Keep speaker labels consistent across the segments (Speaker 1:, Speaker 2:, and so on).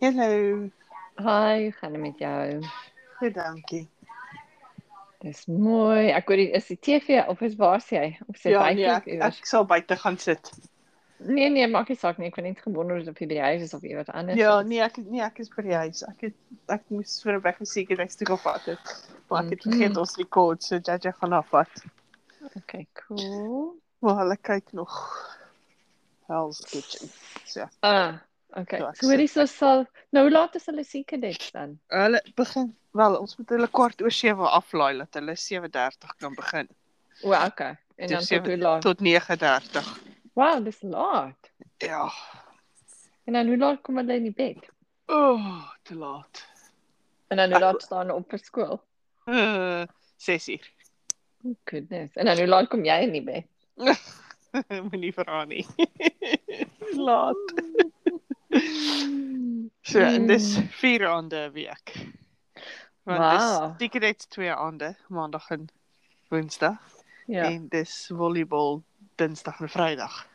Speaker 1: Hallo,
Speaker 2: Hi, hoe gaan dit met jou?
Speaker 1: goed dankie.
Speaker 2: Dis mooi. Ek hoor hier is die TV of is waar is jy? Of sit
Speaker 1: Ja
Speaker 2: by
Speaker 1: nee, ek,
Speaker 2: jou iewers?
Speaker 1: ek sal buite gaan sit.
Speaker 2: Nee nee, maak nie saak nie. Ek het net gewonder of jy by die huis is of iewers anders
Speaker 1: Ja
Speaker 2: is.
Speaker 1: nee, ek nee, ek is by die huis. Ek het ek moes vir 'n wegsekerheid toe gevat het. Maar ek het
Speaker 2: Mhm.
Speaker 1: vergeet ons rekord so dat jy gaan afvat.
Speaker 2: Okay, cool.
Speaker 1: Maar hulle kyk nog Hell's Kitchen. So,
Speaker 2: Ah, okay.
Speaker 1: Ja, ek
Speaker 2: So hoorie
Speaker 1: sit
Speaker 2: so sal nou hoe laat is hulle seker dit dan.
Speaker 1: hulle begin wel, ons moet hulle kwart oor 7 aflaai dat hulle 7:30 kan begin
Speaker 2: O, okay. En
Speaker 1: Dis
Speaker 2: dan tot hoe
Speaker 1: sewe-
Speaker 2: laat?
Speaker 1: tot 9:30.
Speaker 2: Wow, dis laat.
Speaker 1: Ja.
Speaker 2: En dan hoe laat kom hulle in die bed?
Speaker 1: O, oh, te laat.
Speaker 2: En dan hoe
Speaker 1: Ek-
Speaker 2: laat staan hulle op vir skool?
Speaker 1: Uh, 6 uur.
Speaker 2: Oh, goodness. En dan hoe laat kom jy in die bed?
Speaker 1: Moenie vra nie. Laat. So, en dis
Speaker 2: Mm.
Speaker 1: vier aande 'n week. Want
Speaker 2: Wow.
Speaker 1: wow. dis sigarette twee aande, maandag en woensdag ja.
Speaker 2: Ja,
Speaker 1: en dis volleybal dinsdag en vrydag.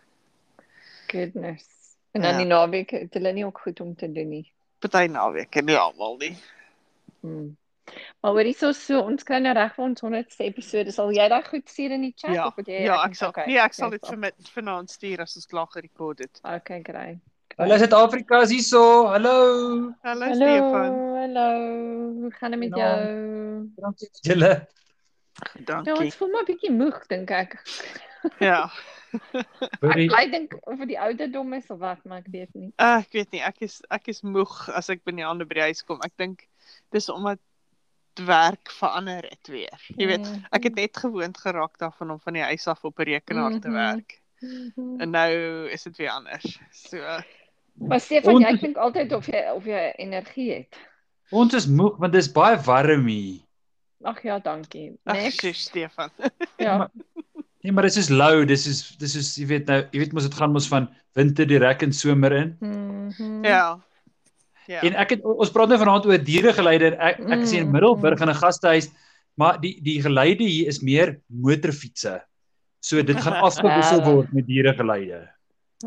Speaker 2: goodness. En dan
Speaker 1: Ja.
Speaker 2: die naweek het hulle nie ook goed om te doen nie.
Speaker 1: Party naweke nie almal nie.
Speaker 2: Mm. Maar hoor hierso so ons kry nou reg vir ons 100ste episode. Sal jy daai goed stuur in die chat
Speaker 1: Ja.
Speaker 2: of moet jy
Speaker 1: Ja, ek sal.
Speaker 2: Okay,
Speaker 1: Nee, ek sal
Speaker 2: jy
Speaker 1: dit vir met vanaand stuur as ons klaar gerekord het.
Speaker 2: Okay, great.
Speaker 3: Hallo Suid-Afrika is hierso. Hallo.
Speaker 1: Hallo
Speaker 2: Hallo,
Speaker 1: Stefan.
Speaker 2: hallo. Hoe gaan dit met
Speaker 3: Ja.
Speaker 2: jou?
Speaker 3: Dankie vir julle.
Speaker 2: Ja,
Speaker 1: Dankie.
Speaker 2: ons voel maar 'n bietjie moeg dink ek.
Speaker 1: Ja.
Speaker 2: Ek
Speaker 3: Hoorie.
Speaker 2: bly dink of dit die ouderdom is of wat, maar ek weet nie.
Speaker 1: Uh, ek weet nie, ek is ek is moeg as ek by die ander by die huis kom. Ek dink dis omdat werk verander het weer. Jy weet, Ek het net gewoond geraak daarvan om van die huis af op 'n rekenaar te
Speaker 2: Mhm.
Speaker 1: werk.
Speaker 2: het
Speaker 1: En nou is dit weer anders. So uh,
Speaker 2: Maar Stefan,
Speaker 3: Ons-
Speaker 2: jy klink altyd of jy of jy energie het.
Speaker 3: Ons is moeg want dit is baie warm hier.
Speaker 2: Ag ja, dankie.
Speaker 1: ag, sjoe,
Speaker 2: Next.
Speaker 1: ah, Stefan.
Speaker 2: Ja.
Speaker 3: Maar- Nee, maar dit is lou, dis is dis is jy weet nou, jy weet mos dit gaan mos van winter direk in somer in.
Speaker 2: Mhm.
Speaker 1: Ja. Ja.
Speaker 3: En ek het ons praat nou vanaand oor dieregeleider. Ek ek is hier in
Speaker 2: Mm.
Speaker 3: Middelburg in 'n gastehuis, maar die die geleide hier is meer motorfietsse. So dit gaan afgewissel word met dieregeleide.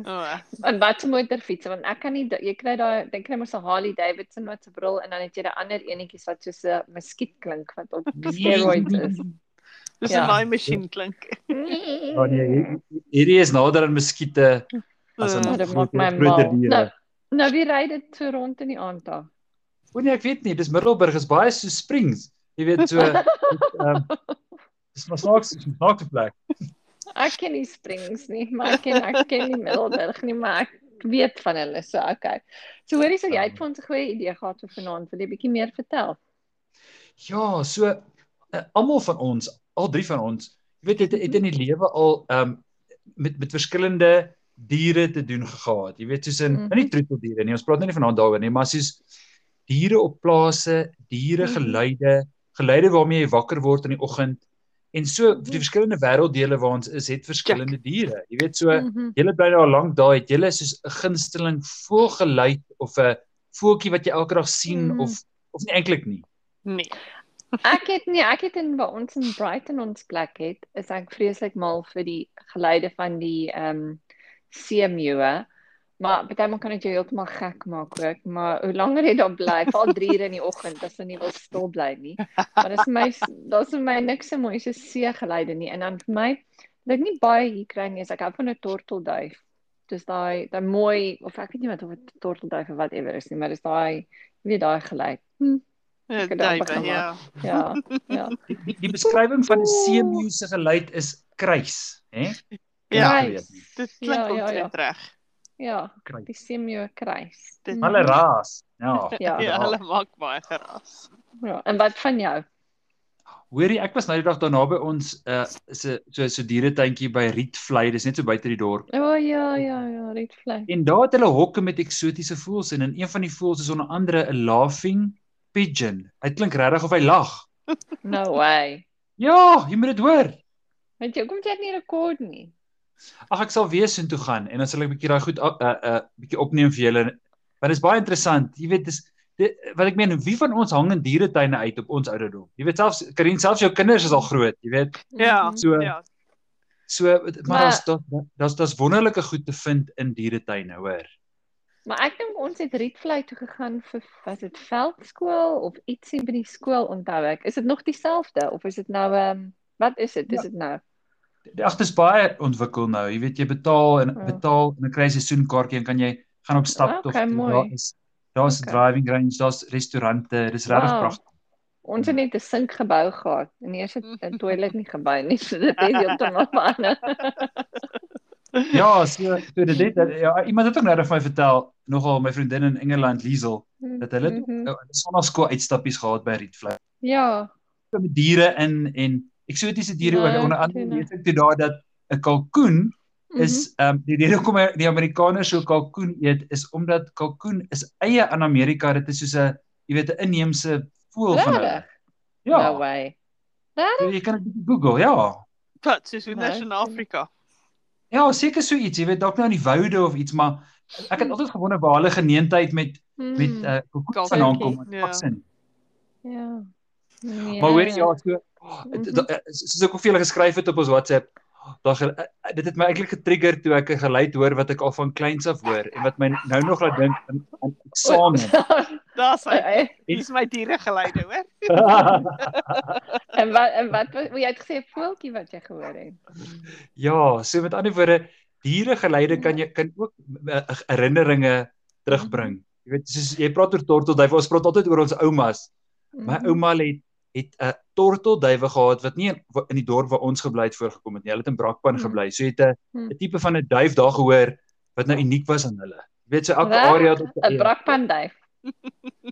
Speaker 1: Oh,
Speaker 2: En wat se motorfiets want ek kan nie da- jy kry daai dink jy mos 'n Harley Davidson wat se bril en dan het jy daai ander enetjies wat soos 'n muskiet klink wat op steroids is.
Speaker 1: dis 'n
Speaker 2: Ja.
Speaker 1: ja. laai masjien klink.
Speaker 3: Ja nee, hier- hierdie is nader aan muskiete as
Speaker 1: Uh,
Speaker 3: aan
Speaker 2: Oh, dit maak
Speaker 3: groter-
Speaker 2: my
Speaker 3: groter
Speaker 2: mal.
Speaker 3: diere.
Speaker 2: Nou, nou wie ry dit so rond in die aand daar?
Speaker 3: O nee, ek weet nie, dis Middelburg is baie so springs. Jy weet so ehm dis maar snaaks, dis 'n snaakse plek.
Speaker 2: Ek ken nie Springs nie, maar ek ken ek ken nie Middelburg nie, maar ek weet van hulle. So okay. So hoorie so
Speaker 3: Ah.
Speaker 2: jy het vir ons 'n goeie idee gehad vir vanaand. Wil jy bietjie meer vertel?
Speaker 3: Ja, so uh, almal van ons, al drie van ons, jy weet het, het in die lewe al ehm met met verskillende diere te doen gehad. Jy weet soos in mm
Speaker 2: Mhm.
Speaker 3: -hmm. nie troeteldiere nie, ons praat nou nie vanaand daaroor nie, maar soos diere op plase, diere
Speaker 2: Mhm.
Speaker 3: geluide, geluide waarmee jy wakker word in die oggend. En so die
Speaker 2: Mhm.
Speaker 3: verskillende wêrelddele waar ons is, het verskillende diere. Jy weet so
Speaker 2: Mhm.
Speaker 3: Julle bly daar lank daai het julle soos 'n gunsteling voelgeluid of 'n voeltjie wat jy elke dag sien
Speaker 2: Mm.
Speaker 3: mm. of of nie eintlik nie.
Speaker 1: Nee.
Speaker 2: Ek het nie, ek het in by ons in Brighton ons plek het, is ek vreeslik mal vir die geluide van die ehm um, seemeeue. Maar partymal kan dit jou heeltemal gek maak ook, maar hoe langer jy daar bly, val 3 uur in die oggend as jy nie wil stil bly nie. Maar dis vir my daar's vir my niks so mooi so seegeluide nie en dan vir my wat ek nie baie hier kry nie, is ek hou van 'n tortelduif. Dis daai daai mooi of ek weet nie wat of 'n tortelduif of whatever is nie, maar dis daai jy weet daai geluid. Hm,
Speaker 1: Ja,
Speaker 2: het
Speaker 1: daai
Speaker 2: amper
Speaker 1: by ja.
Speaker 2: ja, ja.
Speaker 3: Die, die, die beskrywing van 'n seemeeu se geluid is kruis, hè?
Speaker 1: Ja,
Speaker 2: Kruis.
Speaker 1: dit klink
Speaker 2: Ja,
Speaker 1: ja,
Speaker 2: ja,
Speaker 1: ja,
Speaker 2: ja.
Speaker 1: ja. reg.
Speaker 2: Ja,
Speaker 3: Kruis.
Speaker 2: die seemeeu kruis.
Speaker 1: Dit-
Speaker 2: Mhm.
Speaker 3: Hulle raas. Ja.
Speaker 2: Ja.
Speaker 1: er Ja,
Speaker 3: Ja.
Speaker 1: hulle maak baie geraas.
Speaker 2: Ja, en wat van jou?
Speaker 3: Hoorie, ek was nou die dag daarna by ons uh is 'n so so dieretuintjie by Rietvlei, dis net so buite die dorp.
Speaker 2: O oh, ja, ja, ja, red flag.
Speaker 3: En daar het hulle hokke met eksotiese voëls en in een van die voëls is onder andere 'n laughing pigeon. Hy klink regtig of hy lag.
Speaker 2: No way. er
Speaker 3: Ja, jy moet dit hoor.
Speaker 2: Want jy kom dit nie rekord nie.
Speaker 3: Ag ek sal weer soontoe gaan en dan sal ek 'n bietjie daai goed op- 'n uh, 'n uh, bietjie opneem vir julle. Want dit is baie interessant. Jy weet dis dit, wat ek meen, wie van ons hang in dieretuine uit op ons ouderdom? Jy weet selfs Karin, selfs jou kinders is al groot, jy weet.
Speaker 1: Ja.
Speaker 2: Mhm.
Speaker 3: So
Speaker 1: Ja.
Speaker 3: so maar
Speaker 2: Maar-
Speaker 3: daar's daar's daar's wonderlike goed te vind in dieretuine, hoor.
Speaker 2: Maar ek dink ons het Rietvlei toe gegaan vir was dit veldskool of ietsie by die skool onthou ek. er- Is dit nog dieselfde of is dit nou ehm um, wat is dit? Is dit nou?
Speaker 3: Ag, dis baie ontwikkel nou. Jy weet jy betaal en
Speaker 2: Ja.
Speaker 3: betaal en dan kry jy 'n seisoenkaartjie en kan jy gaan op stap
Speaker 2: Okay, mooi.
Speaker 3: daar is daar's 'n
Speaker 2: Okay.
Speaker 3: driving range, daar's restaurante, dis regtig
Speaker 2: Wow.
Speaker 3: pragtig.
Speaker 2: Ons het net 'n sink gebou gehad en eers het 'n toilet nie gebou nie, so dit het heeltemal verander.
Speaker 3: Ja, so so dit het ja, iemand het ook nou net vir my vertel, nogal my vriendin in Engeland, Liesel, dat hulle mm
Speaker 2: Mhm.
Speaker 3: -hmm. sonnaarskool uitstappies gehad by Rietvlei.
Speaker 2: Ja,
Speaker 3: Ook met diere in en eksotiese diere
Speaker 2: Nee,
Speaker 3: ook onder andere
Speaker 2: tuna.
Speaker 3: lees ek toe daar dat 'n kalkoen
Speaker 2: mhm.
Speaker 3: is ehm um, die rede hoekom hy- die Amerikaners so kalkoen eet is omdat kalkoen is eie aan Amerika. Dit is soos 'n jy weet 'n inheemse voël van hulle.
Speaker 2: Regtig? Nou,
Speaker 3: Ja,
Speaker 2: No way.
Speaker 3: so jy kan dit Google, ja.
Speaker 1: Wat soos hoe
Speaker 2: Nee,
Speaker 1: nou in
Speaker 2: nee.
Speaker 1: Afrika.
Speaker 3: Ja, seker so iets, jy weet dalk nou in die woude of iets, maar ek
Speaker 2: Hm.
Speaker 3: het altyd gewonder waar hulle geneentheid met met
Speaker 2: Mm,
Speaker 3: uh, kalkoen
Speaker 1: Kalkoen,
Speaker 3: vandaan kom.
Speaker 1: ja.
Speaker 3: Ja.
Speaker 2: ja. Nee.
Speaker 3: Maar hoor jy ja, so
Speaker 2: Mhm.
Speaker 3: da- eh, soos ek ook vir julle geskryf het op ons WhatsApp, daar ge- eh, eh, dit het my eintlik getrigger toe ek 'n geluid hoor wat ek al van kleins af hoor en wat my nou nog laat dink aan aan eksamen.
Speaker 1: Daar's hy.
Speaker 2: Sorry.
Speaker 1: Dis my diere geleide, hoor.
Speaker 2: Ja, En wat en wat was- jy het gesê 'n voeltjie wat jy gehoor het.
Speaker 3: Ja, so met ander woorde, dieregeleide kan jy kan ook eh, herinneringe terugbring. Jy weet, soos jy praat oor tortelduwe, ons praat altyd oor ons oumas. My
Speaker 2: Mhm.
Speaker 3: ouma het het 'n tortelduwe gehad wat nie in- wa- in die dorp waar ons gebly het voorgekom het nie. Hulle het in Brakpan
Speaker 2: Mm.
Speaker 3: gebly. So jy het 'n
Speaker 2: Mm.
Speaker 3: 'n tipe van 'n duif daar gehoor wat nou uniek was aan hulle. Jy weet, so elke
Speaker 2: Reg?
Speaker 3: area het ook 'n
Speaker 2: 'n
Speaker 3: eie.
Speaker 2: brakpanduif.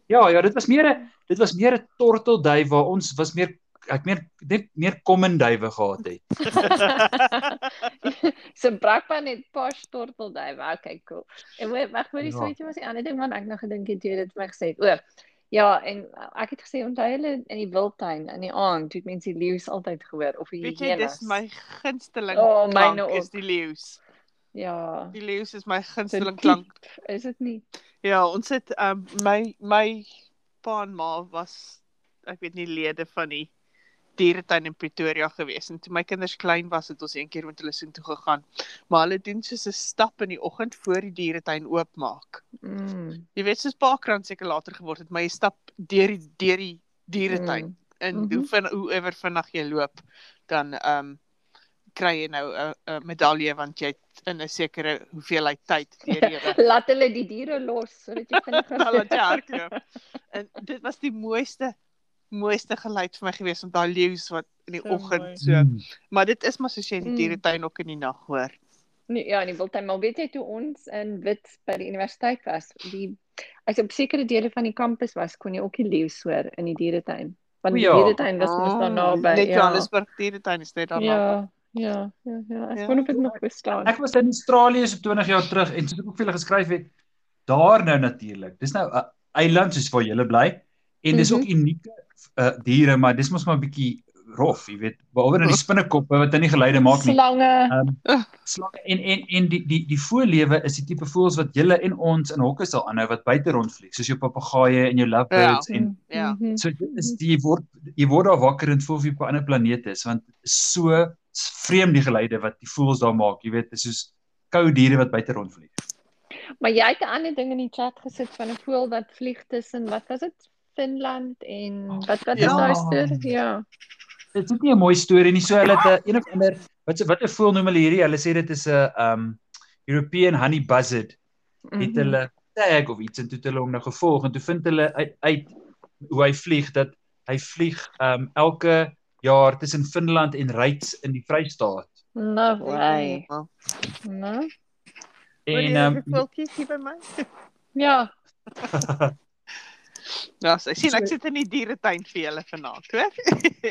Speaker 3: Ja, ja, dit was meer 'n dit was meer 'n tortelduif waar ons was meer ek meer net meer common duwe gehad het.
Speaker 2: so brakpan het paar stortelduwe. Okay, cool. En wait, wag, hoor jy so
Speaker 3: Ja.
Speaker 2: weet jy was die ander ding wat ek nog gedink het jy het dit vir my gesê. het. O. Ja, en ek het gesê onthou hulle in die wildtuin in die aand, toe het mense die leeu's altyd gehoor of die
Speaker 1: Weet jy, dis
Speaker 2: hyenas.
Speaker 1: my gunsteling
Speaker 2: O,
Speaker 1: oh,
Speaker 2: myne
Speaker 1: klank
Speaker 2: ook.
Speaker 1: is die leeu's.
Speaker 2: Ja.
Speaker 1: Die leeu's is my
Speaker 2: Sin
Speaker 1: gunsteling klank.
Speaker 2: klank. Is dit nie?
Speaker 1: Ja, ons het um my my pa en ma was ek weet nie lede van die dieretuin in Pretoria gewees en toe my kinders klein was het ons een keer met hulle soontoe gegaan. Maar hulle doen soos 'n stap in die oggend voor die dieretuin oopmaak.
Speaker 2: Mm.
Speaker 1: Jy weet soos Parkrand seker later geword het, maar jy stap deur die deur die dieretuin
Speaker 2: Mm.
Speaker 1: en mm
Speaker 2: Mhm.
Speaker 1: -hmm. hoe van hoeëwer vinnig jy loop dan ehm um, kry jy nou 'n- 'n medalje want jy het in 'n sekere hoeveelheid tyd deur jy
Speaker 2: Laat hulle die diere los sodat jy
Speaker 1: dan laat ja. jy
Speaker 2: vinniger
Speaker 1: hardloop. En dit was die mooiste mooiste geluid vir my gewees om daai leeu's wat in die
Speaker 2: So mooi.
Speaker 1: oggend so. ja. Maar dit is maar soos jy in die
Speaker 2: Mm.
Speaker 1: dieretuin ook in die nag hoor.
Speaker 2: Nee, ja, in die wildtuin, maar weet jy toe ons in Wits by die universiteit was, die as jy op sekere dele van die kampus was, kon jy ook die leeu's hoor in die dieretuin. Want die
Speaker 3: O ja.
Speaker 2: dieretuin was mos daar naby.
Speaker 1: Net
Speaker 2: ja.
Speaker 1: Johannesburg dieretuin is net daar
Speaker 2: Ja,
Speaker 1: naby.
Speaker 2: ja, ja, ja. Ek
Speaker 1: Ja.
Speaker 2: wonder of dit nog bestaan.
Speaker 3: Ek was in Australië so 20 jaar terug en soos ek ook vir julle geskryf het, daar nou natuurlik. Dis nou 'n eiland soos waar julle bly en dis ook unieke uh, diere, maar dis mos maar 'n bietjie rof, jy weet, behalwe nou die spinnekoppe wat hulle nie geluide maak nie.
Speaker 2: Slange.
Speaker 3: Slange en en en die die die voëllewe is die tipe voëls wat julle en ons in hokke sal aanhou wat buite rondvlieg, soos jou papegaaie en jou lovebirds ja. en
Speaker 1: ja.
Speaker 2: Mhm.
Speaker 3: so dit is die- jy word jy word daar wakker en voel of jy op 'n ander planeet is want dit is so vreemd die geluide wat die voëls daar maak, jy weet, dit is soos koue diere wat buite rondvlieg.
Speaker 2: Maar jy het 'n ander ding in die chat gesit van 'n voël wat vlieg tussen wat was dit? Finland en
Speaker 3: Oh,
Speaker 2: wat wat is
Speaker 1: Ja.
Speaker 2: daai storie? Ja.
Speaker 3: Dit is nie 'n mooi storie nie. So hulle het 'n een of ander wat se- wat 'n voël noem hulle hierdie? Hulle sê dit is 'n um European honey buzzard. Het
Speaker 2: Mhm.
Speaker 3: hulle tag of iets en toe het hulle hom nou gevolg en toe vind hulle uit, uit hoe hy vlieg dat hy vlieg um elke jaar tussen Finland en Ryds in die Vrystaat.
Speaker 2: No way.
Speaker 1: Ja.
Speaker 2: No.
Speaker 3: En um
Speaker 1: voeltjies hier by my.
Speaker 2: Ja,
Speaker 1: Ja, so, sien ek
Speaker 3: So-
Speaker 1: sit in die dieretuin vir julle vanaand, hoor.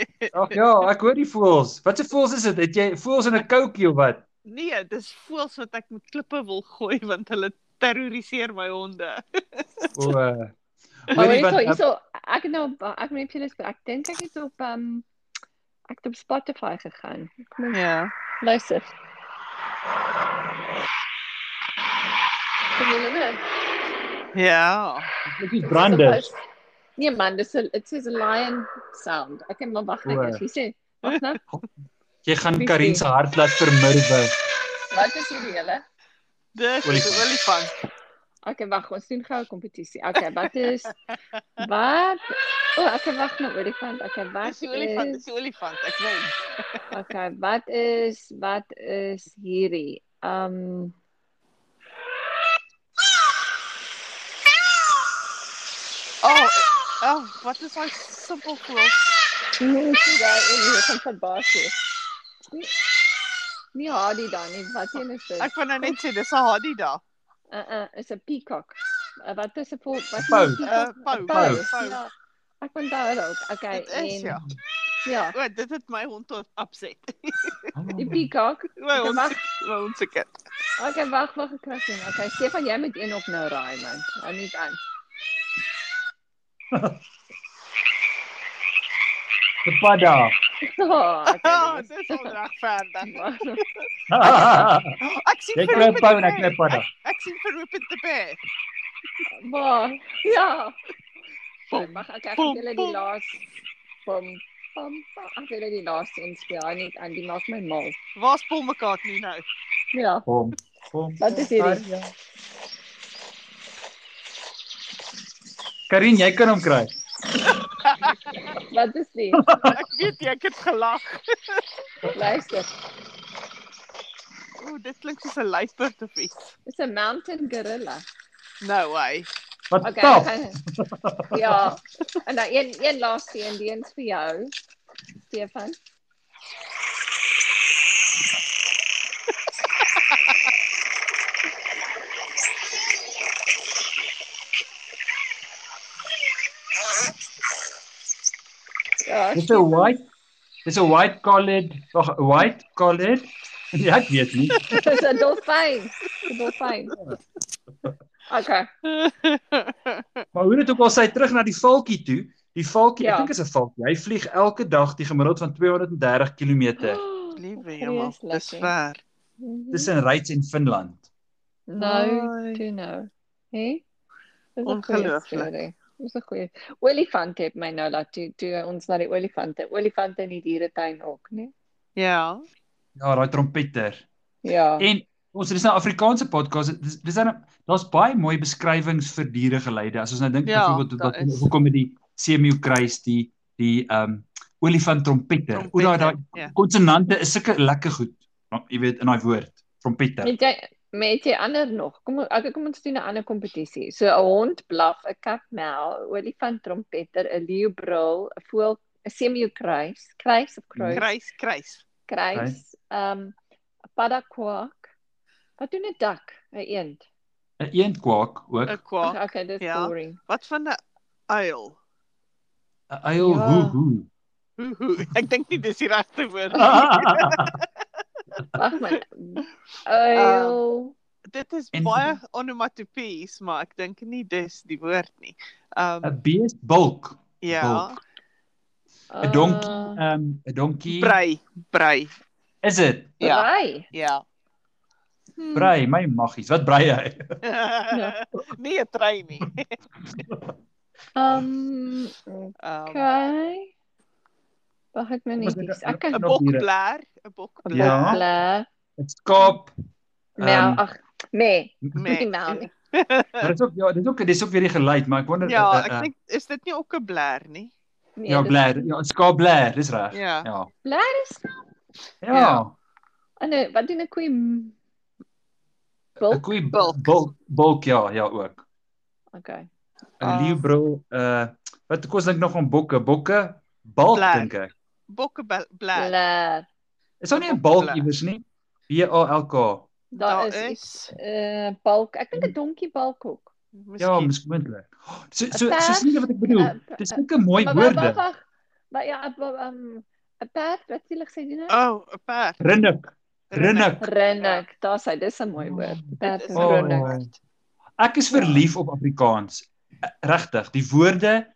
Speaker 3: ag ja, ek hoor die voëls. Wat se voëls is dit? Het jy voëls in 'n koukie of wat?
Speaker 1: Nee, dis voels wat ek met klippe wil gooi want hulle terroriseer my honde.
Speaker 3: O. Uh,
Speaker 2: Maar weet jy, hierso ek het nou op- ek moet net vir julle sê, ek dink ek het op ehm um, ek het op Spotify gegaan. Kom ons
Speaker 1: Ja.
Speaker 2: luister. Kom julle net.
Speaker 1: Ja.
Speaker 3: hierso brande.
Speaker 2: Nee man, dis 'n it says a lion sound. Ek kan maar wag net
Speaker 3: O.
Speaker 2: eers. Wie sê? Wag nou.
Speaker 3: Jy gaan Karin se hart laat vermurwe.
Speaker 2: Wat is hierdie hele?
Speaker 1: Dis 'n
Speaker 3: Olifant.
Speaker 1: olifant.
Speaker 2: Okay, wag, ons doen gou 'n kompetisie. Okay, wat is wat? O, oh, okay, wag nou, olifant. Okay, wat
Speaker 1: Dis 'n olifant, dis 'n olifant. Ek wen.
Speaker 2: Okay, wat is wat is hierdie? Um
Speaker 1: Oh, oh, wat is daai simpel voel?
Speaker 2: mense Nee, daar in hier van Verbasie. Nie hardy dan nie. Wat een is dit?
Speaker 1: Ek wou nou net sê dis 'n hadi daar.
Speaker 2: Uh uh, is 'n peacock. Uh, wat is 'n vol wat is 'n
Speaker 3: Pou.
Speaker 2: peacock?
Speaker 1: Uh, pou, pou,
Speaker 2: Een
Speaker 1: pou.
Speaker 2: Ja, ek onthou dit ook. Okay,
Speaker 1: Dit is
Speaker 2: en
Speaker 1: ja.
Speaker 2: ja,
Speaker 1: O, dit het my hond tot upset.
Speaker 2: die peacock.
Speaker 1: My
Speaker 2: Okay,
Speaker 1: hond,
Speaker 2: wag.
Speaker 1: my hond se kind.
Speaker 2: Okay, wag, wag, ek kry sien. Okay, Stefan, jy moet een op nou raai man. Hou net aan.
Speaker 3: Die padda.
Speaker 2: Oh,
Speaker 1: Ja,
Speaker 2: okay.
Speaker 1: Ah, dit is onregverdig. Ek sien
Speaker 3: Jy
Speaker 1: vir
Speaker 3: kry
Speaker 1: Rupert
Speaker 3: pau
Speaker 1: die
Speaker 3: en
Speaker 1: Bear.
Speaker 3: ek kry padda.
Speaker 1: Ek- Ek sien vir Rupert die Bear.
Speaker 2: Maar ja.
Speaker 1: Pom,
Speaker 2: Mag ek ek
Speaker 1: pom,
Speaker 2: julle die
Speaker 1: pom.
Speaker 2: laaste pom pom pom. Ek wil die laaste inspel hy net aan die maak my mal.
Speaker 1: Waar's Paul McCartney nou?
Speaker 2: Ja,
Speaker 3: Kom. Kom.
Speaker 2: wat is hierdie?
Speaker 3: Karin, jy kan hom kry.
Speaker 2: Wat is dit?
Speaker 1: Ek weet jy ek het gelag.
Speaker 2: Luister.
Speaker 1: O, dit klink soos 'n luiperd of iets.
Speaker 2: Dis 'n mountain gorilla.
Speaker 1: No way.
Speaker 3: Wat
Speaker 2: Okay.
Speaker 3: taf.
Speaker 2: gaan- ja. En dan een een laaste een deens vir jou. Stefan. Ja,
Speaker 3: Dis 'n white Dis 'n white collared, wag, 'n white collared. Ja, ek weet nie.
Speaker 2: Dis 'n dolfyn. 'n Dolfyn. Okay.
Speaker 3: Maar hoe dit ook al sy terug na die valkie toe. Die valkie,
Speaker 2: Ja.
Speaker 3: ja. ek dink is 'n valkie. Hy vlieg elke dag die gemiddeld van 230 km.
Speaker 1: Liewe jemma, dis
Speaker 2: Vreeslik, hè?
Speaker 1: ver.
Speaker 3: Dis in Ryds en Finland.
Speaker 2: nou,
Speaker 1: Ai.
Speaker 2: toe nou. Hè? Dis 'n goeie
Speaker 1: Ongelooflik.
Speaker 2: storie. Dis 'n goeie. Olifante het my nou laat toe toe ons na die olifante. Olifante in die dieretuin ook, né?
Speaker 1: Ja.
Speaker 3: Ja, daai trompeter.
Speaker 2: Ja.
Speaker 3: En ons dis nou 'n Afrikaanse podcast. Dis dis dan daar's baie mooi beskrywings vir diere geleide. As ons nou dink
Speaker 1: Ja,
Speaker 3: byvoorbeeld
Speaker 1: daar
Speaker 3: wat
Speaker 1: is.
Speaker 3: hoekom met die seemeeu kruis die die ehm um, olifant trompeter. Hoe daai daai
Speaker 1: Ja.
Speaker 3: konsonante is sulke lekker goed. Nou, Jy weet in daai woord trompeter.
Speaker 2: Met jy met jy ander nog. Kom ons- okay, kom ons doen 'n ander kompetisie. So 'n hond blaf, 'n kat mel, 'n olifant trompeter, 'n leeu brul, 'n voël, 'n seemeeu kruis, kruis of kruis.
Speaker 1: Kruis, kruis.
Speaker 2: kruis, ehm um, paddakwak. Wat doen 'n dak? 'n Eend.
Speaker 3: 'n Eendkwaak ook.
Speaker 1: 'n
Speaker 2: Ag,
Speaker 1: Kwaak.
Speaker 2: okay, dis
Speaker 1: ja.
Speaker 2: boring.
Speaker 1: Wat van 'n uil?
Speaker 3: 'n Uil
Speaker 2: Ja.
Speaker 3: hoe hoe.
Speaker 1: Hoe hoe. Ek dink nie dis die regte woord nie.
Speaker 3: ja,
Speaker 2: Wag maar. Uil.
Speaker 1: Dit is
Speaker 3: En-
Speaker 1: baie onomatopoeies, maar ek dink nie dis die woord nie. Um
Speaker 3: 'n bees bulk.
Speaker 1: ja,
Speaker 3: bulk. 'n donkie,
Speaker 2: uh,
Speaker 3: Ehm um, 'n donkie.
Speaker 1: brei, brei.
Speaker 3: Is dit?
Speaker 1: Ja.
Speaker 2: Braai.
Speaker 1: Ja.
Speaker 2: Hmm.
Speaker 3: Brei, my maggies. Wat brei hy?
Speaker 1: nee, 'n trein nie.
Speaker 2: Ehm
Speaker 1: Um
Speaker 2: um, okay. Wag ek nou net iets. Ek kan
Speaker 1: Een
Speaker 3: nog diere.
Speaker 1: bokblaar, 'n bokblaar.
Speaker 3: Ja.
Speaker 2: Bla,
Speaker 3: 'n Skaap.
Speaker 2: mel,
Speaker 3: Ehm,
Speaker 2: ag, nee,
Speaker 1: Nee.
Speaker 2: nie mel nie.
Speaker 3: Maar dit is ook ja, dit is ook dis ook weer die geluid, maar ek wonder
Speaker 1: Ja,
Speaker 3: eh, eh,
Speaker 1: ek dink is dit nie ook 'n blaar nie?
Speaker 2: Nee,
Speaker 3: Ja,
Speaker 2: dis-
Speaker 3: blaar. Ja, 'n skaap blaar, dis reg.
Speaker 1: Ja.
Speaker 3: Ja.
Speaker 2: Blaar is
Speaker 3: Ja.
Speaker 2: en nou, wat doen 'n koei? m-
Speaker 3: 'n
Speaker 2: Bulk.
Speaker 3: Koei
Speaker 1: Bulk.
Speaker 3: bulk bulk ja, ja ook.
Speaker 2: Okay.
Speaker 3: 'n
Speaker 1: Ah.
Speaker 3: Leeubrul uh wat kos dink nog van bokke? Bokke bulk
Speaker 1: Blaar.
Speaker 3: dink ek.
Speaker 1: Bokkeblaar.
Speaker 2: Blaar.
Speaker 3: Is daar nie 'n bulk
Speaker 1: Blaar.
Speaker 3: iewers nie? B A L K. Ja,
Speaker 2: Daar is iets eh balk. Ek dink 'n donkie balk ook.
Speaker 3: Ja,
Speaker 1: Miskien.
Speaker 3: miskien moontlik. So
Speaker 2: Een
Speaker 3: so so
Speaker 2: perd,
Speaker 3: sien jy wat ek bedoel?
Speaker 2: eh,
Speaker 3: Dis sulke mooi
Speaker 2: Maar wag, wag,
Speaker 3: woorde.
Speaker 2: wag. Maar ja, ehm 'n perd wat jy lig sê doen nou?
Speaker 1: O, oh, 'n perd.
Speaker 3: Rinnik, rinnik.
Speaker 2: Rinnik. Daar's hy, dis 'n mooi woord. Perd is
Speaker 3: Oh.
Speaker 2: rinnik.
Speaker 3: Ek is verlief op Afrikaans. Eh, Regtig, die woorde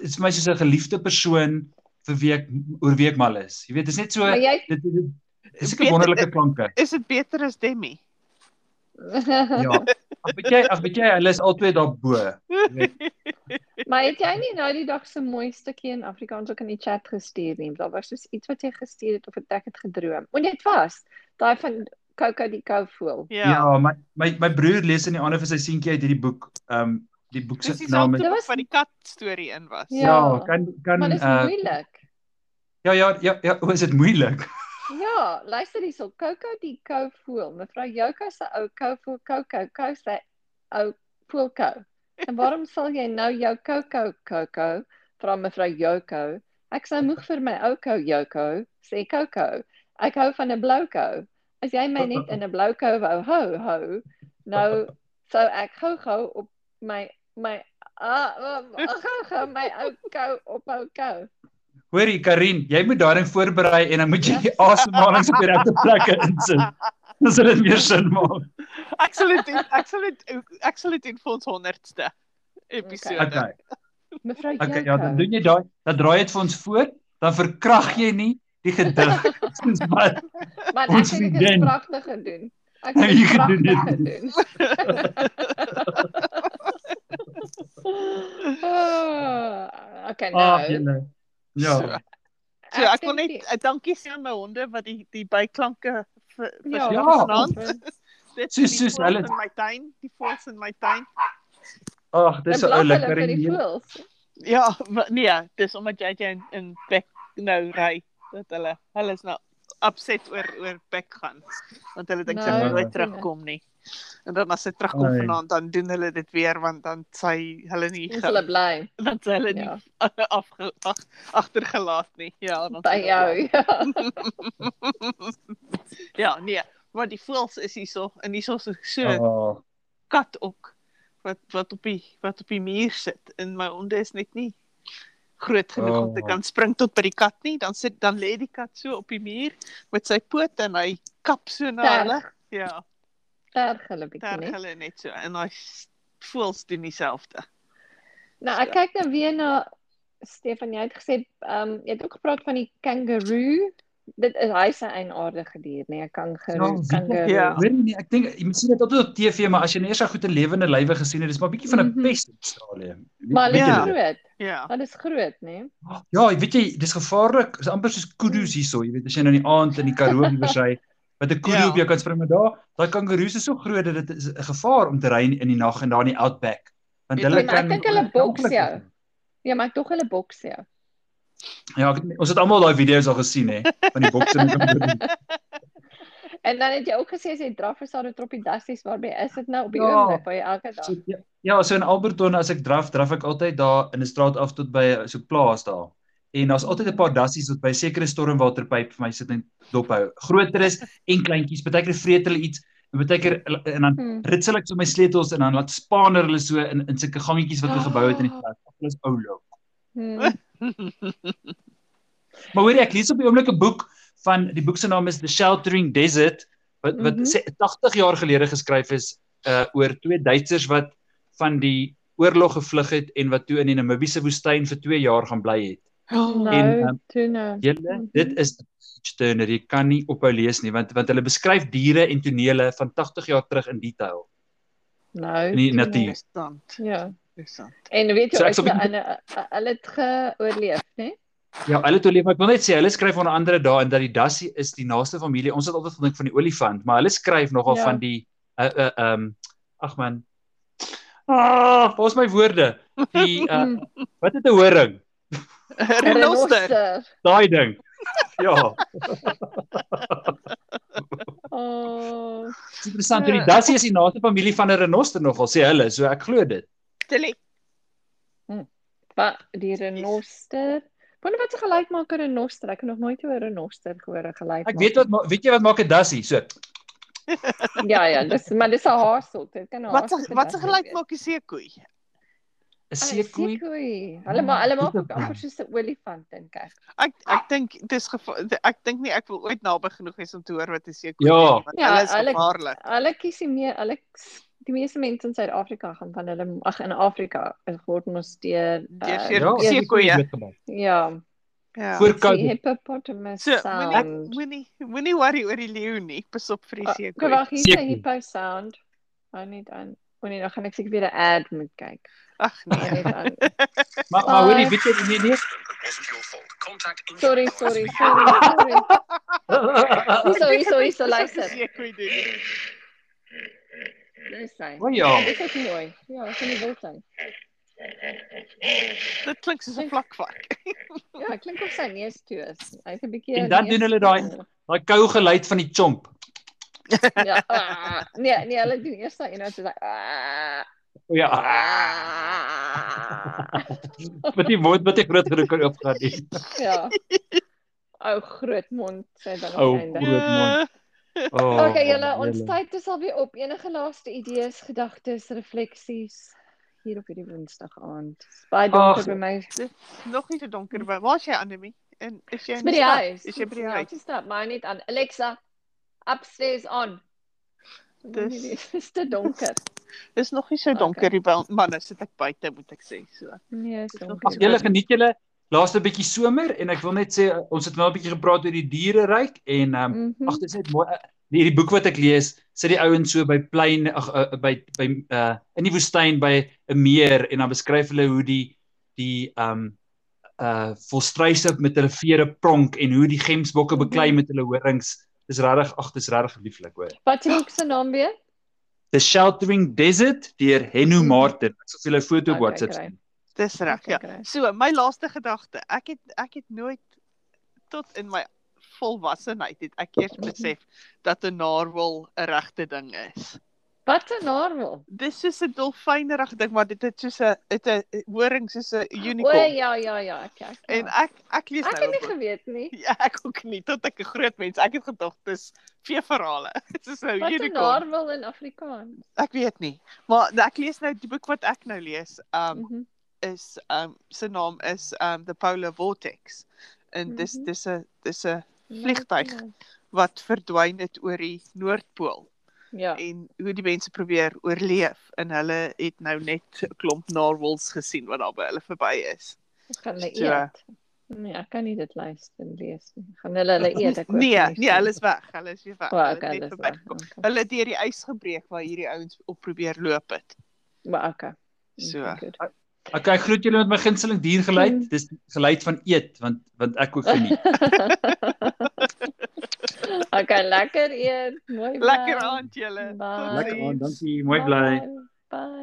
Speaker 3: is vir my soos 'n geliefde persoon vir wie ek oor wie ek mal is. Jy weet, dis net so
Speaker 2: Maar
Speaker 3: dit
Speaker 2: jy
Speaker 3: dit- dit is
Speaker 1: Weet-
Speaker 3: sulke wonderlike klanke.
Speaker 1: Is dit beter as Demi?
Speaker 3: Ja. Ag weet jy, ag weet jy, hulle is albei daarbo. Jy weet,
Speaker 2: maar het jy nie nou die dag se mooi stukkie in Afrikaans ook in die chat gestuur nie? Daar was soos iets wat jy gestuur het of het ek het gedroom. O nee, dit was daai van Coco die kou voel.
Speaker 1: Ja.
Speaker 3: Ja,
Speaker 1: ja.
Speaker 3: my my my broer lees in die ander vir sy seentjie uit hierdie boek. Ehm um, die boek se
Speaker 1: Dis
Speaker 3: naam
Speaker 1: dieselfde
Speaker 3: is
Speaker 2: Dit
Speaker 1: was...
Speaker 2: was-
Speaker 1: wat die kat storie in was.
Speaker 2: Ja.
Speaker 3: Ja, kan kan
Speaker 2: Maar dit is
Speaker 3: uh,
Speaker 2: moeilik.
Speaker 3: ja ja ja ja, o, is dit moeilik?
Speaker 2: Ja, luister hierso. Coco die kou voel. Mevrou Jouka se ou kou voel Coco, kou sy ou voel kou. En waarom sal jy nou jou Coco Coco vra mevrou Jouko? Ek sou moeg vir my ou kou Jouko, sê Coco. Ek hou van 'n blou kou. As jy my net in 'n blou kou wou hou, hou. Nou sou ek gou-gou op my my ah, ah, gou-gou my ou kou ophou kou.
Speaker 3: Hoorie Karin, jy moet daarin voorberei en dan moet jy die asemhalings op die regte plekke insit. Dan sal dit meer sin maak.
Speaker 1: Ek sal dit doen- ek sal dit ek sal dit doen vir ons 100ste episode.
Speaker 3: Okay.
Speaker 2: Mevrou Jouko.
Speaker 3: Okay, ja, dan doen jy daai, dan draai dit vir ons voor, dan verkrag jy nie die gedig soos wat
Speaker 2: Maar ek
Speaker 3: Ons
Speaker 2: het dit
Speaker 3: vriendin.
Speaker 2: pragtig gedoen. Ek
Speaker 3: Nee,
Speaker 2: het
Speaker 3: jy
Speaker 2: dit
Speaker 3: gedoen,
Speaker 2: pragtig
Speaker 3: jy
Speaker 2: gedoen. Ah, okay
Speaker 3: ah,
Speaker 2: nou.
Speaker 3: jylle. Ja.
Speaker 1: So, So ek wil
Speaker 2: dink
Speaker 1: net eh, dankie sê aan my honde wat die die byklanke vir
Speaker 2: die- Ja.
Speaker 3: Ja.
Speaker 1: vanaand. Dit
Speaker 3: Soos-
Speaker 1: die
Speaker 3: soos
Speaker 1: voëls
Speaker 3: hulle-
Speaker 1: in my tuin, die voëls in my tuin.
Speaker 3: Ag, dis so oulik
Speaker 2: vir
Speaker 3: Karin.
Speaker 2: die
Speaker 3: jy-
Speaker 2: voels.
Speaker 1: Ja, maar nee, dis omdat JJ in, in Beck nou ry dat hulle hulle is nou upset oor oor Beck gaan want hulle dink sy
Speaker 3: Nou,
Speaker 1: gaan nooit
Speaker 2: sien ek.
Speaker 1: terugkom nie. En dan as sy terugkom
Speaker 3: Ai.
Speaker 1: vanaand dan doen hulle dit weer want dan sy hulle nie
Speaker 2: Ons
Speaker 1: ge-
Speaker 2: hulle bly
Speaker 1: dan sy hulle nie
Speaker 2: ja,
Speaker 1: afge, ag, agtergelaat nie. Ja, dan
Speaker 2: by
Speaker 1: sal hulle-
Speaker 2: jou. Ja.
Speaker 1: Ja, nee, maar die voëls is hierso en hierso is so oh.
Speaker 3: Ah,
Speaker 1: kat ook wat wat op die wat op die muur sit en my honde is net nie groot genoeg oh. om te
Speaker 3: Oh.
Speaker 1: kan spring tot by die kat nie. Dan sit dan lê die kat so op die muur met sy pote en hy kap so na
Speaker 2: Terg.
Speaker 1: hulle. Ja,
Speaker 2: Terg hulle bietjie
Speaker 1: terg
Speaker 2: net.
Speaker 1: hulle net so en hy s- voels doen dieselfde.
Speaker 2: Nou ek
Speaker 1: ja.
Speaker 2: kyk nou weer na Stefan, jy het gesê ehm um, jy het ook gepraat van die kangaroo. Dit is hy se eienaardige dier, nee, 'n
Speaker 3: Ja,
Speaker 2: kangaroo.
Speaker 3: wie-
Speaker 2: Kangaroo.
Speaker 1: Ja.
Speaker 3: Weet nie, ek dink jy sien dit altyd op TV, maar as jy nie eers so goed 'n lewende lywe gesien het, dis maar 'n bietjie van 'n
Speaker 2: Mhm.
Speaker 3: pest in Australië. Weet-
Speaker 2: Maar
Speaker 3: weet
Speaker 2: hulle
Speaker 3: jy
Speaker 1: Ja.
Speaker 2: is
Speaker 3: dit?
Speaker 2: groot.
Speaker 1: Ja.
Speaker 2: Hulle is groot, nee.
Speaker 3: Ja, weet jy, dis gevaarlik. Dis amper soos kudu's hierso, jy weet, as jy nou in die aand in die Karoo iewers ry, wat 'n kudu
Speaker 1: Ja.
Speaker 3: op jou kan spring, maar daar, daai kangaroes is so groot dat dit is 'n gevaar om te ry in die nag en daar in die outback. Want
Speaker 1: Ja,
Speaker 3: hulle
Speaker 1: maar
Speaker 3: kan
Speaker 1: ek
Speaker 2: dink hulle boks
Speaker 3: ongelukkig
Speaker 2: jou.
Speaker 3: is.
Speaker 2: Ja, maar tog hulle boks jou.
Speaker 3: Ja, ek, ons het almal daai video's al gesien hè, van die bokse met kangaroes.
Speaker 2: En dan het jy ook gesê as jy draf is daar 'n troppie dassies waarby is dit nou op die
Speaker 3: Ja.
Speaker 2: ja. oomblik by elke dag.
Speaker 3: So, ja, ja, so in Alberton as ek draf, draf ek altyd daar in 'n straat af tot by so 'n plaas daar. En daar's altyd 'n paar dassies wat by sekere stormwaterpyp vir my sit en dop hou. Groteres en kleintjies, baie keer vreet hulle iets en baie keer en dan
Speaker 2: Hmm.
Speaker 3: ritsel ek so my sleutels en dan laat spaaner hulle so in in sulke gangetjies wat hulle gebou het in die
Speaker 2: Ah.
Speaker 3: stad. Hulle is oulou. ehm,
Speaker 2: Hmm.
Speaker 3: Maar hoor jy, ek lees op die oomblik 'n boek van die boek se naam is The Sheltering Desert wat wat
Speaker 2: Mhm.
Speaker 3: mm -hmm. 80 jaar gelede geskryf is uh oor twee Duitsers wat van die oorlog gevlug het en wat toe in die Namibiese woestyn vir 2 jaar gaan bly het.
Speaker 1: Oh,
Speaker 2: Nou,
Speaker 3: ehm,
Speaker 2: toe nou.
Speaker 3: Julle,
Speaker 2: Mhm.
Speaker 3: dit is 'n page turner. Jy kan nie ophou lees nie want want hulle beskryf diere en tonele van 80 jaar terug in detail
Speaker 2: Nou.
Speaker 3: in die
Speaker 2: toe nou.
Speaker 3: natuur.
Speaker 1: interessant.
Speaker 2: Ja.
Speaker 1: Interessant.
Speaker 2: En weet jy,
Speaker 3: So ek
Speaker 2: so,
Speaker 3: sal
Speaker 2: hulle
Speaker 3: bietjie-
Speaker 2: ander hulle het geoorleef, né?
Speaker 3: Ja, hulle toe leef, maar ek wil net sê hulle skryf onder andere daarin dat die dassie is die naaste familie. Ons het altyd gedink van die olifant, maar hulle skryf nogal
Speaker 2: Ja.
Speaker 3: van die uh uh um ag man. Ah, waar's my woorde? Die uh
Speaker 2: Hmm.
Speaker 3: wat het 'n horing?
Speaker 1: Renoster.
Speaker 3: Daai ding. Ja,
Speaker 2: Oh.
Speaker 3: dis interessant. Ja. Die dassie is die naaste familie van 'n renoster nogal sê hulle, so ek glo dit.
Speaker 1: Tilly.
Speaker 2: Wat die renoster? Wonder wat se gelyk maak 'n renoster? Ek het nog nooit oor 'n renoster gehoor 'n gelyk.
Speaker 3: Ek weet wat ma- weet jy wat maak 'n dassie? So
Speaker 2: Ja ja, dis maar dis 'n haarsot. Dit kan 'n
Speaker 1: Wat
Speaker 2: haarsoort
Speaker 1: se- wat se
Speaker 2: wees.
Speaker 1: gelyk maak die seekoei?
Speaker 3: 'n
Speaker 2: Ah,
Speaker 3: seekoei.
Speaker 2: Seekoei. Hulle maar hulle
Speaker 3: Ja,
Speaker 2: maak
Speaker 3: dit is
Speaker 2: ook amper soos 'n olifant in kyk.
Speaker 1: Ek ek dink dis geva- ek dink nie ek wil ooit naby genoeg wees om te hoor wat 'n seekoei
Speaker 3: Ja.
Speaker 1: doen nie, want
Speaker 2: Ja,
Speaker 1: hulle is
Speaker 2: hulle-
Speaker 1: gevaarlik.
Speaker 2: Hulle kies die meer hulle die meeste mense in Suid-Afrika gaan van hulle ag in Afrika is word mos deur
Speaker 1: Deur
Speaker 2: uh,
Speaker 1: seer-
Speaker 3: Ja,
Speaker 1: seekoeie.
Speaker 2: ja,
Speaker 1: Ja.
Speaker 3: Voor
Speaker 2: die
Speaker 3: Covid.
Speaker 2: hippopotamus
Speaker 1: So,
Speaker 2: sound.
Speaker 1: moenie moenie worry oor die leeu nie. Pas op vir die
Speaker 2: Ah,
Speaker 1: seekoei.
Speaker 2: Wag, hier is 'n
Speaker 3: Seekoei.
Speaker 2: hippo sound. Hou net aan. O nee, nou gaan ek seker weer 'n ad moet kyk.
Speaker 1: Ag nee.
Speaker 2: Hou net aan.
Speaker 3: Maar maar hoorie, weet jy nee nee,
Speaker 4: wasn't your fault. Contact India
Speaker 2: Sorry,
Speaker 4: Advisory
Speaker 2: sorry,
Speaker 4: Unit.
Speaker 2: sorry, sorry. Sorry, sorry, so luister.
Speaker 1: Ek weet dit.
Speaker 2: Dis hy.
Speaker 3: O ja.
Speaker 2: Dis ek mooi. Ja, ek kan nie wil sê.
Speaker 1: Dit klink soos 'n vlakvark.
Speaker 2: Ja, ek klink of sy neus toe is. Hy's 'n bietjie
Speaker 3: En dan doen hulle daai- Daai kou geluid van die chomp.
Speaker 2: Ja. ah, Nee, nee, hulle doen eers daai een wat so daai ah,
Speaker 3: O ja.
Speaker 2: ah.
Speaker 3: Met die mond wat ek groot genoeg kan oopgaan. nie.
Speaker 2: Ja. Ou Oh, groot mond sê dan
Speaker 3: Ou
Speaker 2: uiteindelik.
Speaker 3: groot mond. Oh,
Speaker 2: Okay, julle, ons tyd is al weer op. Enige laaste idees, gedagtes, refleksies hier op hierdie Woensdag aand. Dis Baie
Speaker 3: Ag,
Speaker 2: dankie by my.
Speaker 1: Eh, Nog nie so donker by. Waar's jy Annelie? En is jy
Speaker 2: Dis
Speaker 1: in
Speaker 2: by
Speaker 1: die
Speaker 2: die
Speaker 1: stad?
Speaker 2: huis.
Speaker 1: Is jy by die
Speaker 2: Ja,
Speaker 1: huis?
Speaker 2: Dis stap maar net aan. Alexa, upstairs on.
Speaker 1: Dis-
Speaker 2: is te donker.
Speaker 1: Dis nog nie so
Speaker 2: Okay.
Speaker 1: donker hier by ons- manne sit ek buite moet ek sê. So.
Speaker 2: Nee, is
Speaker 1: Dis nog
Speaker 2: donker.
Speaker 3: Ag julle geniet julle laaste bietjie somer en ek wil net sê ons het nou 'n bietjie gepraat oor die diereryk en um,
Speaker 2: Mhm.
Speaker 3: ag dit is net mooi eh, die, die boek wat ek lees sit die ouens so by plein ag eh, by by uh, in die woestyn by 'n meer en dan beskryf hulle hoe die die um uh volstruise met hulle vere pronk en hoe die gemsbokke beklei
Speaker 2: Mhm.
Speaker 3: met hulle horings. Dis regtig ag dis regtig lieflik hoor.
Speaker 2: Wat se boek se naam weer?
Speaker 3: The Sheltering Desert deur Henno
Speaker 2: Mhm.
Speaker 3: Martin. Ek sal vir julle 'n foto
Speaker 2: Okay,
Speaker 3: op WhatsApp
Speaker 2: great.
Speaker 3: stuur.
Speaker 1: Dis reg, ja.
Speaker 2: Okay,
Speaker 1: So, my laaste gedagte. Ek het ek het nooit tot in my volwassenheid het ek eers besef dat 'n narwal 'n regte ding is.
Speaker 2: Wat 'n narwal.
Speaker 1: Dis soos 'n dolfynrag ding, maar dit is soos 'n dit 'n horing soos 'n
Speaker 2: O
Speaker 1: unicorn.
Speaker 2: ja, ja, ja, ek ek.
Speaker 1: En ek ek lees
Speaker 2: ek het
Speaker 1: nou 'n
Speaker 2: nie
Speaker 1: boek.
Speaker 2: geweet nie.
Speaker 1: Ja, ek ook nie tot ek 'n groot mens. Ek het gedog dis veeverhale. Dit is nou
Speaker 2: Wat 'n
Speaker 1: unicorn.
Speaker 2: narwal in Afrikaans.
Speaker 1: Ek weet nie. Maar ek lees nou die boek wat ek nou lees. Um
Speaker 2: Mhm.
Speaker 1: is um se naam is um the polar vortex en dis
Speaker 2: Mhm.
Speaker 1: dis 'n dis 'n
Speaker 2: Ja,
Speaker 1: vliegtuig.
Speaker 2: ja.
Speaker 1: wat verdwyn het oor die noordpool
Speaker 2: Ja.
Speaker 1: en hoe die mense probeer oorleef en hulle het nou net 'n klomp narwals gesien wat daar by hulle verby is.
Speaker 2: Gaan hulle
Speaker 1: So- ja.
Speaker 2: eet? Nee, ek kan nie dit luister en lees nie. Gaan hulle hulle eet ek
Speaker 1: Nee, nee, hulle is weg. Hulle is weer weg.
Speaker 2: O,
Speaker 1: Hulle het
Speaker 2: okay,
Speaker 1: net
Speaker 2: hulle is
Speaker 1: verby
Speaker 2: weg,
Speaker 1: gekom.
Speaker 2: okay.
Speaker 1: Hulle het deur die ys gebreek waar hierdie ouens op probeer loop het.
Speaker 2: Maar okay.
Speaker 1: So,
Speaker 2: Good.
Speaker 3: Okay, ek groet julle met my gunsteling diergeluid.
Speaker 2: Mm.
Speaker 3: Dis die geluid van eet want want ek ook geniet.
Speaker 2: okay, lekker eet. Mooi. bly.
Speaker 1: lekker aand julle.
Speaker 2: Bye.
Speaker 1: Tot
Speaker 3: Lekker
Speaker 1: ziens.
Speaker 3: aan, dankie. Mooi bly.
Speaker 2: Bye. Bye.